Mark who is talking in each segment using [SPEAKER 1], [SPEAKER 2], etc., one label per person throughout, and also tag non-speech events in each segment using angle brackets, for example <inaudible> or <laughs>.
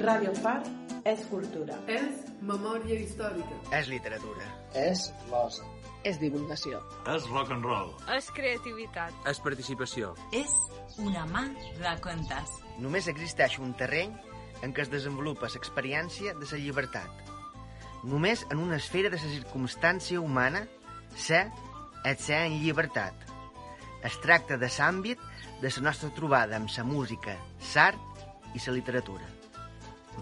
[SPEAKER 1] Radio Far és cultura.
[SPEAKER 2] És memòria històrica.
[SPEAKER 3] És literatura.
[SPEAKER 4] És l'osa.
[SPEAKER 5] És divulgació.
[SPEAKER 6] És rock and roll.
[SPEAKER 7] És creativitat.
[SPEAKER 8] És participació.
[SPEAKER 9] És una mà de contes.
[SPEAKER 3] Només existeix un terreny en què es desenvolupa l'experiència de la llibertat. Només en una esfera de la circumstància humana ser és ser en llibertat. Es tracta de l'àmbit de la nostra trobada amb la música, l'art i la literatura.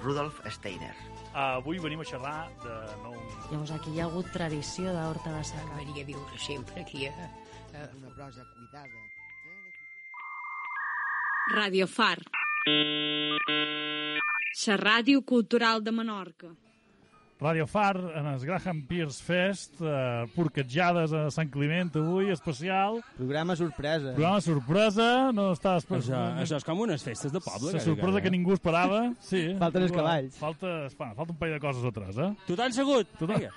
[SPEAKER 3] Rudolf Steiner.
[SPEAKER 10] Uh, avui venim a xerrar de nou...
[SPEAKER 11] Llavors aquí hi ha hagut tradició d'horta de saca.
[SPEAKER 12] Maria viure sempre aquí a... Eh?
[SPEAKER 13] Una prosa cuidada.
[SPEAKER 14] Radio Far. La ràdio cultural de Menorca.
[SPEAKER 10] Radio Far, en el Graham Pierce Fest, eh, porquetjades a Sant Climent avui, especial.
[SPEAKER 15] Programa sorpresa.
[SPEAKER 10] Programa sorpresa, no està...
[SPEAKER 16] Això, això és com unes festes de poble.
[SPEAKER 10] La sorpresa eh? que ningú esperava, sí.
[SPEAKER 15] <laughs> Falten els cavalls.
[SPEAKER 10] Falta, fa, falta un parell de coses o tres, eh? <laughs>
[SPEAKER 16] Tu t'han segut? Tu Vinga.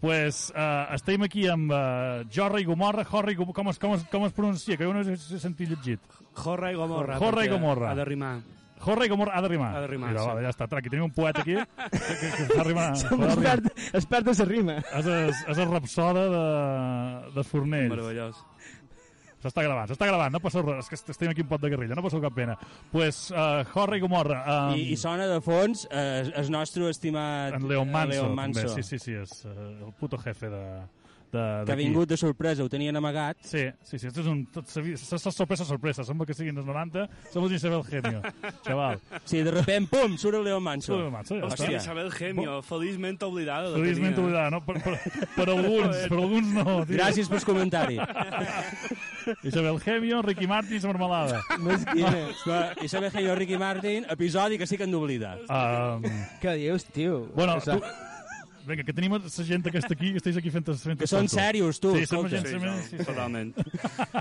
[SPEAKER 10] pues, uh, estem aquí amb uh, Jorra i Gomorra, Jorra i Gomorra, com es, com es, com es pronuncia? Que jo no he sentit llegit.
[SPEAKER 16] Jorra i Gomorra.
[SPEAKER 10] Jorra i Gomorra.
[SPEAKER 16] Ha de rimar.
[SPEAKER 10] Jorra i Gomorra ha de rimar.
[SPEAKER 16] Ha de rimar, Mira,
[SPEAKER 10] sí. Vale, ja està, trac, tenim un poeta aquí que, que, que fa rimar.
[SPEAKER 15] <laughs> Som expert, expert de la rima.
[SPEAKER 10] És, és, és el rapsoda de, de Fornells.
[SPEAKER 16] <laughs> Meravellós.
[SPEAKER 10] S'està gravant, s'està gravant, no passa res, que estem aquí en pot de guerrilla, no passa cap pena. Doncs pues, uh, Jorra i Gomorra...
[SPEAKER 16] Um... I, eh, I sona de fons uh, el nostre estimat...
[SPEAKER 10] En Leon Manso, Leon Manso. també, sí, sí, sí, és uh, el puto jefe de, de,
[SPEAKER 16] que ha vingut de sorpresa, ho tenien amagat.
[SPEAKER 10] Sí, sí, sí, això és un... Tot, sorpresa, sorpresa, sembla que siguin dels 90, somos Isabel
[SPEAKER 16] <laughs>
[SPEAKER 10] Genio, xaval.
[SPEAKER 16] Sí, de repent, pum, surt el Leo Manso.
[SPEAKER 10] Surt el Manso, ja
[SPEAKER 16] Hòstia, Isabel Genio, feliçment oblidada.
[SPEAKER 10] Feliçment oblidada, no? Per, per, per alguns, per alguns no.
[SPEAKER 16] Tio. Gràcies pel
[SPEAKER 10] <laughs>
[SPEAKER 16] comentari.
[SPEAKER 10] Isabel Genio, Ricky Martin,
[SPEAKER 16] <laughs>
[SPEAKER 10] marmelada.
[SPEAKER 15] No és quina.
[SPEAKER 16] Isabel Genio, Ricky Martin, episodi que sí que han d'oblidar.
[SPEAKER 10] Um...
[SPEAKER 15] Què dius, tio?
[SPEAKER 10] Bueno, tu, Vinga, que tenim la gent que està aquí, que estàs aquí fent... fent
[SPEAKER 16] que són serios, tu.
[SPEAKER 10] Sí, som gent sí, no,
[SPEAKER 16] sí, sí, totalment.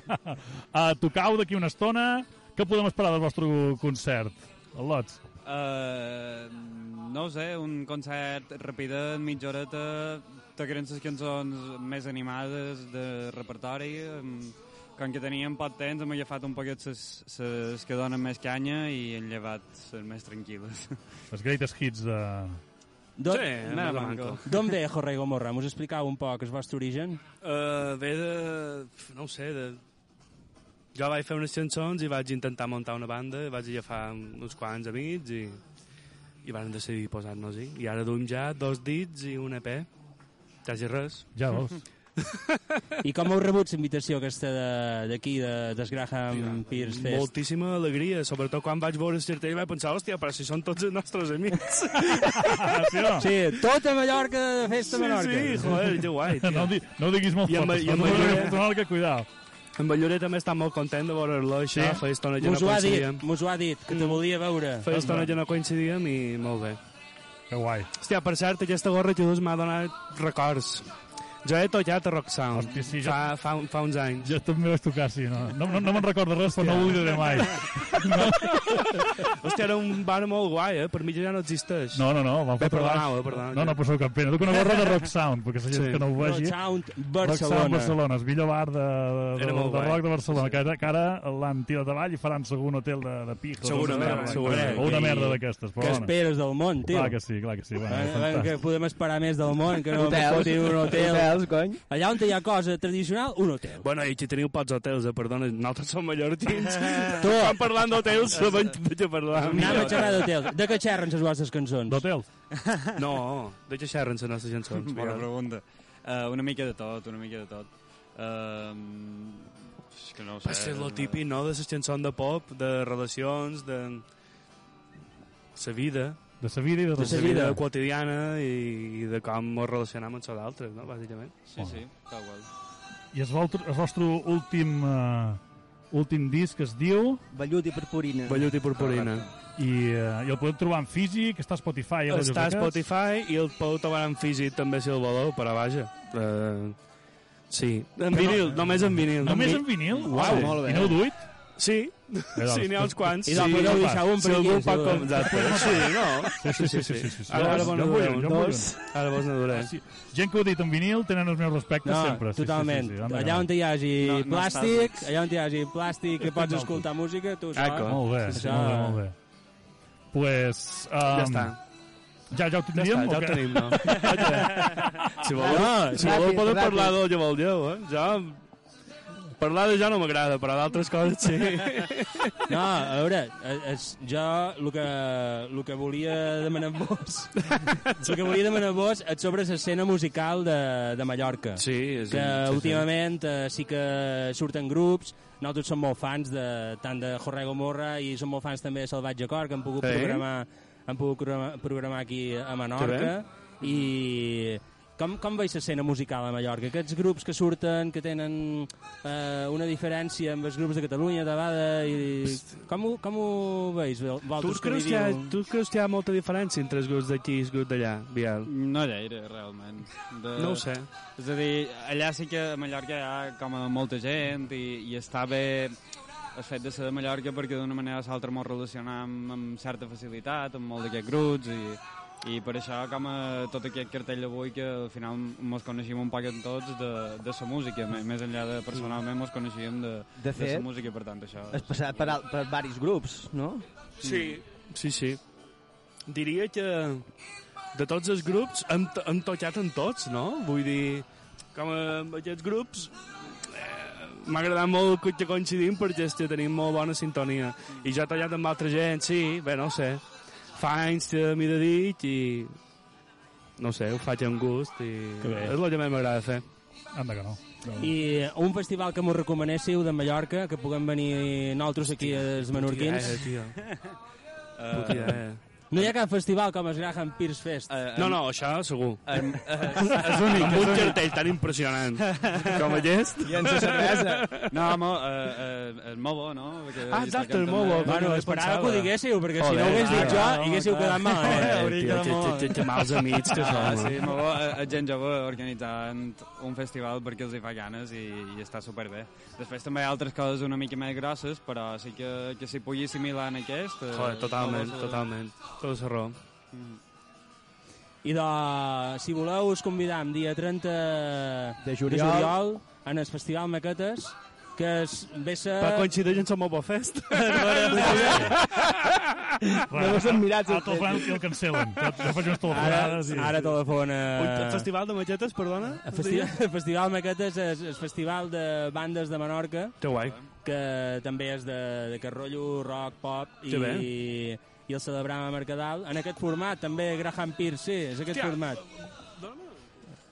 [SPEAKER 10] uh, tocau d'aquí una estona. Què podem esperar del vostre concert? El Lots.
[SPEAKER 17] Uh, no sé, un concert rapidet, mitja horeta, tocarem les cançons més animades de repertori, com que teníem poc temps hem agafat un poquet les que donen més canya i hem llevat les més tranquil·les.
[SPEAKER 10] Els greatest hits de,
[SPEAKER 16] D'on sí, anava manco. D'on ve Jorge Gomorra? M'ho explicau un poc, el vostre origen?
[SPEAKER 18] Uh, ve de... no ho sé, de... Jo vaig fer unes cançons i vaig intentar muntar una banda, vaig agafar uns quants amics i, i van decidir posar-nos-hi. I ara duim ja dos dits i un EP. Quasi res.
[SPEAKER 10] Ja veus.
[SPEAKER 16] I com heu rebut la invitació aquesta d'aquí, de, de, des Graham sí, Pierce Fest?
[SPEAKER 18] Moltíssima alegria, sobretot quan vaig veure el cartell vaig pensar, hòstia, però si són tots els nostres amics.
[SPEAKER 10] Ah,
[SPEAKER 16] sí, no? sí, tota Mallorca de festa
[SPEAKER 18] sí,
[SPEAKER 16] Menorca.
[SPEAKER 18] Sí, sí, joder, que
[SPEAKER 16] <laughs>
[SPEAKER 18] guai.
[SPEAKER 10] Tia. No, di, no ho diguis molt fort, no ho diguis molt cuidao.
[SPEAKER 18] En Balloré també està molt content de veure-lo, això. Sí? Feia estona que no coincidíem.
[SPEAKER 16] Mos ho ha dit, que te volia veure.
[SPEAKER 18] Feia estona que no coincidíem i molt bé.
[SPEAKER 10] Que guai.
[SPEAKER 18] Hòstia, per cert, aquesta gorra que dus m'ha donat records. Jo he tocat a Rock Sound Hosti, sí, jo... fa, fa, fa uns anys.
[SPEAKER 10] Jo també vaig tocar, sí. No, no, no, no me'n recordo res, però no ho oblidaré mai.
[SPEAKER 18] No. Hòstia, era un bar molt guai, eh? Per mi ja no existeix.
[SPEAKER 10] No, no, no.
[SPEAKER 18] Bé, perdonau, eh? Perdonau,
[SPEAKER 10] no, no, passeu cap pena. Duc una gorra de Rock Sound, perquè la gent sí. que no ho vegi...
[SPEAKER 16] Rock Sound Barcelona. Rock Sound
[SPEAKER 10] Barcelona, el millor bar de, de, de, de rock de Barcelona, sí. que, ara, que ara l'han tirat avall i faran segur un hotel de, de pico.
[SPEAKER 18] Segurament,
[SPEAKER 10] segurament. O una merda d'aquestes, però
[SPEAKER 16] Que esperes del món, tio? Eh.
[SPEAKER 10] Clar que sí, clar que sí.
[SPEAKER 15] Ah,
[SPEAKER 16] Bueno, que podem esperar més del món, que no fotin un hotel
[SPEAKER 15] hotels, cony.
[SPEAKER 16] Allà on hi ha cosa tradicional, un hotel.
[SPEAKER 18] Bueno, i si teniu pots hotels, eh, perdona, nosaltres som
[SPEAKER 16] <laughs>
[SPEAKER 18] mallorquins. tu. Estan parlant d'hotels, no vaig de parlar.
[SPEAKER 16] Anem a xerrar d'hotels. De què xerren les vostres cançons?
[SPEAKER 10] D'hotels?
[SPEAKER 18] no, de què xerren les nostres
[SPEAKER 16] Doncs
[SPEAKER 18] cançons?
[SPEAKER 17] <laughs> Bona pregunta. Uh, una mica de tot, una mica de tot. Uh, és que no sé...
[SPEAKER 18] Va ser lo típic, no?, de les cançons de pop, de relacions, de... la vida
[SPEAKER 10] De sa vida i de
[SPEAKER 18] de
[SPEAKER 10] la
[SPEAKER 18] la
[SPEAKER 10] seva
[SPEAKER 18] vida
[SPEAKER 10] vida.
[SPEAKER 18] quotidiana i, i de com ens relacionam amb els altres, no? bàsicament.
[SPEAKER 17] Sí, sí, tal qual.
[SPEAKER 10] I el vostre, el vostre últim, uh, últim disc es diu...
[SPEAKER 15] Vellut i purpurina.
[SPEAKER 18] Vellut i purpurina.
[SPEAKER 10] I, uh, I el podeu trobar en físic, està a Spotify... eh, i
[SPEAKER 18] Està a
[SPEAKER 10] a radios aquests.
[SPEAKER 18] Spotify i el podeu trobar en físic també si el voleu, però vaja. Eh, sí, en
[SPEAKER 10] Però-
[SPEAKER 18] vinil, només en vinil.
[SPEAKER 10] Només
[SPEAKER 18] vi-
[SPEAKER 10] en vinil?
[SPEAKER 18] Uau,
[SPEAKER 10] Sí.
[SPEAKER 18] molt bé.
[SPEAKER 10] I n'heu duit?
[SPEAKER 18] Sí,
[SPEAKER 10] doncs,
[SPEAKER 18] sí, n'hi ha uns quants.
[SPEAKER 10] I doncs,
[SPEAKER 18] sí.
[SPEAKER 10] podeu deixar un
[SPEAKER 18] si
[SPEAKER 10] per aquí,
[SPEAKER 18] algú pot
[SPEAKER 10] segur, eh?
[SPEAKER 18] comprar. Sí, no?
[SPEAKER 10] Sí, sí, sí, sí, sí, sí, sí.
[SPEAKER 18] Ara, ara
[SPEAKER 10] Jo
[SPEAKER 18] vos
[SPEAKER 10] en vull un,
[SPEAKER 18] n'adoreu.
[SPEAKER 10] jo en vull
[SPEAKER 18] Dos.
[SPEAKER 10] un.
[SPEAKER 18] Ara vos n'adoreu.
[SPEAKER 10] Ah, Sí. Gent que ho ha dit en vinil tenen els meus respectes
[SPEAKER 16] No,
[SPEAKER 10] sempre. Sí,
[SPEAKER 16] totalment.
[SPEAKER 10] Sí, sí, sí. Anda,
[SPEAKER 16] allà on
[SPEAKER 10] anda.
[SPEAKER 16] hi hagi
[SPEAKER 10] No,
[SPEAKER 16] no,
[SPEAKER 10] no
[SPEAKER 16] plàstic,
[SPEAKER 10] estàs-
[SPEAKER 16] allà on hi hagi plàstic que pots escoltar música, tu això...
[SPEAKER 10] Molt bé,
[SPEAKER 16] això-
[SPEAKER 10] molt bé, molt bé. Pues... Um,
[SPEAKER 16] Ja està.
[SPEAKER 10] Ja, ja ho tindríem?
[SPEAKER 18] Ja està, ja ho
[SPEAKER 10] o què?
[SPEAKER 18] tenim, no? <laughs> Si voleu,
[SPEAKER 16] Ah,
[SPEAKER 10] No,
[SPEAKER 18] si voleu
[SPEAKER 10] ràpid,
[SPEAKER 18] podeu
[SPEAKER 10] ràpid.
[SPEAKER 18] parlar del que vulgueu, eh? Jo... Parlar de jo no m'agrada, però d'altres coses sí.
[SPEAKER 16] No, a veure, eh, és, jo el que, el que volia demanar a vos... el que volia demanar a vos és sobre l'escena musical de, de Mallorca.
[SPEAKER 18] Sí,
[SPEAKER 16] Que
[SPEAKER 18] sí, sí.
[SPEAKER 16] últimament eh, sí que surten grups, nosaltres som molt fans de, tant de Jorrego Morra i som molt fans també de Salvatge Cor, que han pogut
[SPEAKER 18] Sí.
[SPEAKER 16] programar han pogut programar, programar aquí a Menorca i com, com veus l'escena musical a Mallorca? Aquests grups que surten, que tenen eh, una diferència amb els grups de Catalunya, Tabada, i... Com ho, com ho veus,
[SPEAKER 18] Tu
[SPEAKER 16] vosaltres?
[SPEAKER 18] creus, que hi ha, tu creus que hi ha molta diferència entre els grups d'aquí i els grups d'allà, Biel?
[SPEAKER 17] No gaire, realment. De...
[SPEAKER 18] No ho sé.
[SPEAKER 17] És a dir, allà sí que a Mallorca hi ha com a molta gent i, i està bé el fet de ser de Mallorca perquè d'una manera o l'altra mos relacionam amb certa facilitat, amb molt d'aquests grups i, i per això com a tot aquest cartell d'avui que al final mos coneixim un poc en tots de, de sa música, més, més enllà de personalment mos coneixíem de,
[SPEAKER 15] De fet,
[SPEAKER 17] sa música, per tant això...
[SPEAKER 15] Has passat per, al- per varis grups, no?
[SPEAKER 18] Sí, sí, sí. Diria que de tots els grups hem, to- hem tocat en tots, no? Vull dir, com amb aquests grups eh, m'ha agradat molt que coincidim perquè és que tenim molt bona sintonia. I jo he tallat amb altra gent, sí, bé, no ho sé. Fa anys que m'hi dedic i... No ho sé, ho faig amb gust i...
[SPEAKER 16] Que bé.
[SPEAKER 18] És el que més m'agrada fer.
[SPEAKER 10] Anda que no.
[SPEAKER 16] I un festival que m'ho recomanéssiu de Mallorca, que puguem venir nosaltres aquí, els menorquins.
[SPEAKER 18] Puta
[SPEAKER 16] <laughs>
[SPEAKER 18] idea,
[SPEAKER 16] Eh,
[SPEAKER 18] Puta idea.
[SPEAKER 16] no hi ha cap festival com es Graham Pierce Fest.
[SPEAKER 18] No, no, això segur.
[SPEAKER 16] Em-
[SPEAKER 17] <laughs>
[SPEAKER 18] <laughs>
[SPEAKER 17] és
[SPEAKER 16] únic,
[SPEAKER 18] eh, Amb
[SPEAKER 16] és
[SPEAKER 18] un
[SPEAKER 16] únic.
[SPEAKER 18] cartell tan impressionant <laughs> com aquest.
[SPEAKER 17] <laughs> No, molt, eh, eh, és molt bo, no? Perquè
[SPEAKER 18] Ah, exacte, és molt bo.
[SPEAKER 16] Bueno, esperava que ho diguéssiu, perquè si
[SPEAKER 18] Joder,
[SPEAKER 16] no ho hagués dit jo,
[SPEAKER 18] clar,
[SPEAKER 16] haguéssiu
[SPEAKER 18] clar.
[SPEAKER 16] quedat malament.
[SPEAKER 18] Joder,
[SPEAKER 16] Hauria
[SPEAKER 18] tio,
[SPEAKER 16] quedat
[SPEAKER 18] que-
[SPEAKER 16] molt
[SPEAKER 18] que- que- que mals amics que
[SPEAKER 17] Ah,
[SPEAKER 18] som, eh?
[SPEAKER 17] sí, molt bo, eh, gent jove organitzant un festival perquè els hi fa ganes i, i està superbé. Després també hi ha altres coses una mica més grosses, però sí que, que s'hi pugui assimilar en aquest... eh,
[SPEAKER 18] Joder, totalment,
[SPEAKER 17] molt bo,
[SPEAKER 18] totalment. Tot la raó.
[SPEAKER 16] I de, si voleu, us convidam dia 30 de
[SPEAKER 18] juliol.
[SPEAKER 16] de juliol en el Festival Maquetes, que es ve a...
[SPEAKER 18] Per coincidir en Som Obo
[SPEAKER 16] <laughs>
[SPEAKER 18] Fest.
[SPEAKER 10] Bueno,
[SPEAKER 18] us hem mirat,
[SPEAKER 10] Ara te'l fan i el cancel·len. Ja, ja faig unes telefonades. i-
[SPEAKER 16] Ara, ara telefona...
[SPEAKER 18] Ui, el Festival de Maquetes, perdona?
[SPEAKER 16] El festival, el festival Maquetes és el festival de bandes de Menorca.
[SPEAKER 18] Que guai.
[SPEAKER 16] Que també és de, de que rotllo rock, pop
[SPEAKER 18] Que bé.
[SPEAKER 16] i, i el celebram a Mercadal. En aquest format també Graham Pierce, sí, és aquest
[SPEAKER 10] Hòstia.
[SPEAKER 16] format.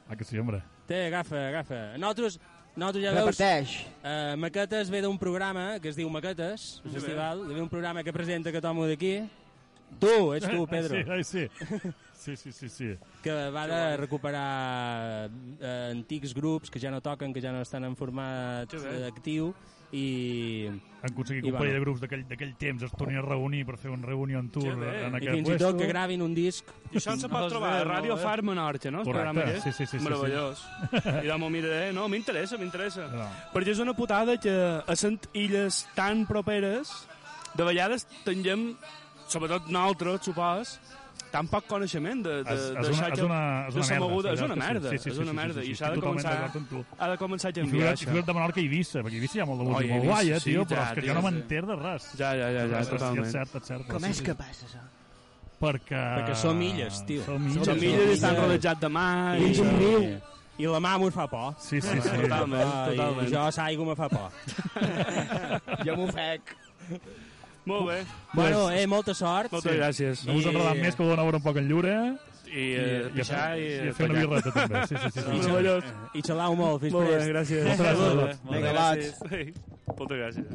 [SPEAKER 10] Ah, que sí, hombre.
[SPEAKER 16] Té, agafa, agafa. Nosaltres, nosaltres ja
[SPEAKER 15] Repeteix.
[SPEAKER 16] veus... Uh, Maquetes ve d'un programa que es diu Maquetes, el
[SPEAKER 10] Sí.
[SPEAKER 16] festival. Ve d'un programa que presenta que tomo d'aquí. Tu, ets tu, Pedro.
[SPEAKER 10] Ai, sí, ai, sí. Sí, sí, sí, sí.
[SPEAKER 16] que va de recuperar eh, antics grups que ja no toquen, que ja no estan en format
[SPEAKER 10] Que bé.
[SPEAKER 16] eh, actiu i...
[SPEAKER 10] Han aconseguit que un parell de grups d'aquell d'aquell temps es tornin a reunir per fer un reunió en tour
[SPEAKER 16] Que bé.
[SPEAKER 10] en
[SPEAKER 16] I
[SPEAKER 10] aquest
[SPEAKER 16] fins i tot que gravin un disc.
[SPEAKER 18] I això se pot
[SPEAKER 16] No,
[SPEAKER 18] trobar a
[SPEAKER 16] no,
[SPEAKER 18] Ràdio
[SPEAKER 16] eh?
[SPEAKER 18] Far Menorca, no? El
[SPEAKER 10] Correcte,
[SPEAKER 18] programa aquest?
[SPEAKER 10] sí, sí, sí, sí,
[SPEAKER 18] Meravellós. I de m'ho miraré. No, m'interessa, m'interessa.
[SPEAKER 10] No.
[SPEAKER 18] Perquè és una putada que a cent illes tan properes, de vegades tinguem, sobretot nosaltres, supos, tan poc coneixement de, de,
[SPEAKER 10] És- és
[SPEAKER 18] d'això
[SPEAKER 10] una- és
[SPEAKER 18] que-
[SPEAKER 10] una- és
[SPEAKER 18] de
[SPEAKER 10] una
[SPEAKER 18] sa
[SPEAKER 10] merda,
[SPEAKER 18] moguda.
[SPEAKER 10] és
[SPEAKER 18] És una
[SPEAKER 10] veritat que sí,
[SPEAKER 18] merda,
[SPEAKER 10] sí, sí,
[SPEAKER 18] és
[SPEAKER 10] sí,
[SPEAKER 18] una
[SPEAKER 10] sí,
[SPEAKER 18] merda. I
[SPEAKER 10] sí, sí,
[SPEAKER 18] s'ha de
[SPEAKER 10] estic totalment
[SPEAKER 18] començar-
[SPEAKER 10] d'acord amb
[SPEAKER 18] ha de començar a
[SPEAKER 10] I
[SPEAKER 18] canviar,
[SPEAKER 10] figurat,
[SPEAKER 18] això.
[SPEAKER 10] i figurat de Menorca i Eivissa, perquè Eivissa hi ha molt de música
[SPEAKER 18] Oi,
[SPEAKER 10] molt
[SPEAKER 18] Eivissa,
[SPEAKER 10] guaia,
[SPEAKER 18] sí,
[SPEAKER 10] tio,
[SPEAKER 18] ja,
[SPEAKER 10] però és que
[SPEAKER 18] tio,
[SPEAKER 10] jo no
[SPEAKER 18] sí.
[SPEAKER 10] m'enter de res.
[SPEAKER 18] Ja, ja, ja, ja,
[SPEAKER 10] Sí,
[SPEAKER 18] totalment.
[SPEAKER 10] És cert, és cert.
[SPEAKER 15] Com
[SPEAKER 10] sí,
[SPEAKER 15] és
[SPEAKER 10] sí,
[SPEAKER 15] que
[SPEAKER 10] sí.
[SPEAKER 15] passa, això?
[SPEAKER 10] Perquè...
[SPEAKER 16] Perquè som illes, tio.
[SPEAKER 10] Som
[SPEAKER 16] Som
[SPEAKER 10] illes.
[SPEAKER 16] illes, Som illes i estan illes. rodejats
[SPEAKER 18] de mar
[SPEAKER 16] i- Dins un riu. I la mà m'ho fa por.
[SPEAKER 10] Sí, sí, sí.
[SPEAKER 18] Totalment,
[SPEAKER 16] Ah, i
[SPEAKER 18] totalment.
[SPEAKER 16] Jo s'aigua me fa por.
[SPEAKER 15] Jo m'ofec.
[SPEAKER 18] Molt bé.
[SPEAKER 16] Bueno, eh, molta sort. Eh,
[SPEAKER 10] Moltes gràcies. No us enredat més, que voleu anar a veure un poc en llure.
[SPEAKER 18] I, eh, pixar i-
[SPEAKER 10] i a fer una birreta, també. Sí, sí, sí. sí.
[SPEAKER 18] Meravellós.
[SPEAKER 16] I xalau molt, fins
[SPEAKER 18] Molt bé,
[SPEAKER 16] prest.
[SPEAKER 18] gràcies.
[SPEAKER 16] Moltes gràcies.
[SPEAKER 18] Molt bé,
[SPEAKER 16] Vinga,
[SPEAKER 18] moltes
[SPEAKER 16] vaig.
[SPEAKER 18] gràcies. Ei, Moltes gràcies.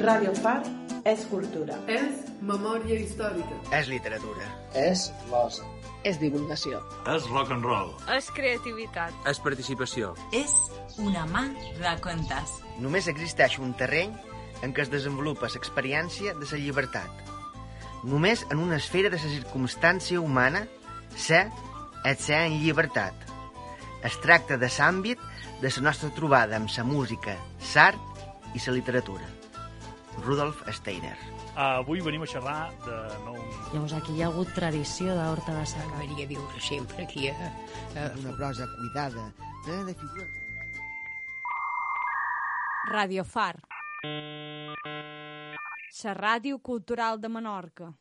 [SPEAKER 1] Radio Far és cultura.
[SPEAKER 2] És memòria històrica.
[SPEAKER 3] És literatura.
[SPEAKER 4] És l'osa.
[SPEAKER 5] És divulgació.
[SPEAKER 6] És rock and roll.
[SPEAKER 9] És creativitat.
[SPEAKER 7] És participació.
[SPEAKER 9] És una mà de contes.
[SPEAKER 3] Només existeix un terreny en què es desenvolupa l'experiència de la llibertat. Només en una esfera de la circumstància humana, ser és ser en llibertat. Es tracta de l'àmbit de la nostra trobada amb la música, l'art i la literatura. Rudolf Steiner.
[SPEAKER 10] Uh, avui venim a xerrar de nou...
[SPEAKER 11] Llavors aquí hi ha hagut tradició d'Horta de Saca.
[SPEAKER 12] Maria viure sempre aquí a... a...
[SPEAKER 3] Eh, Una prosa cuidada, plena de figures...
[SPEAKER 14] Radio Far. La ràdio cultural de Menorca.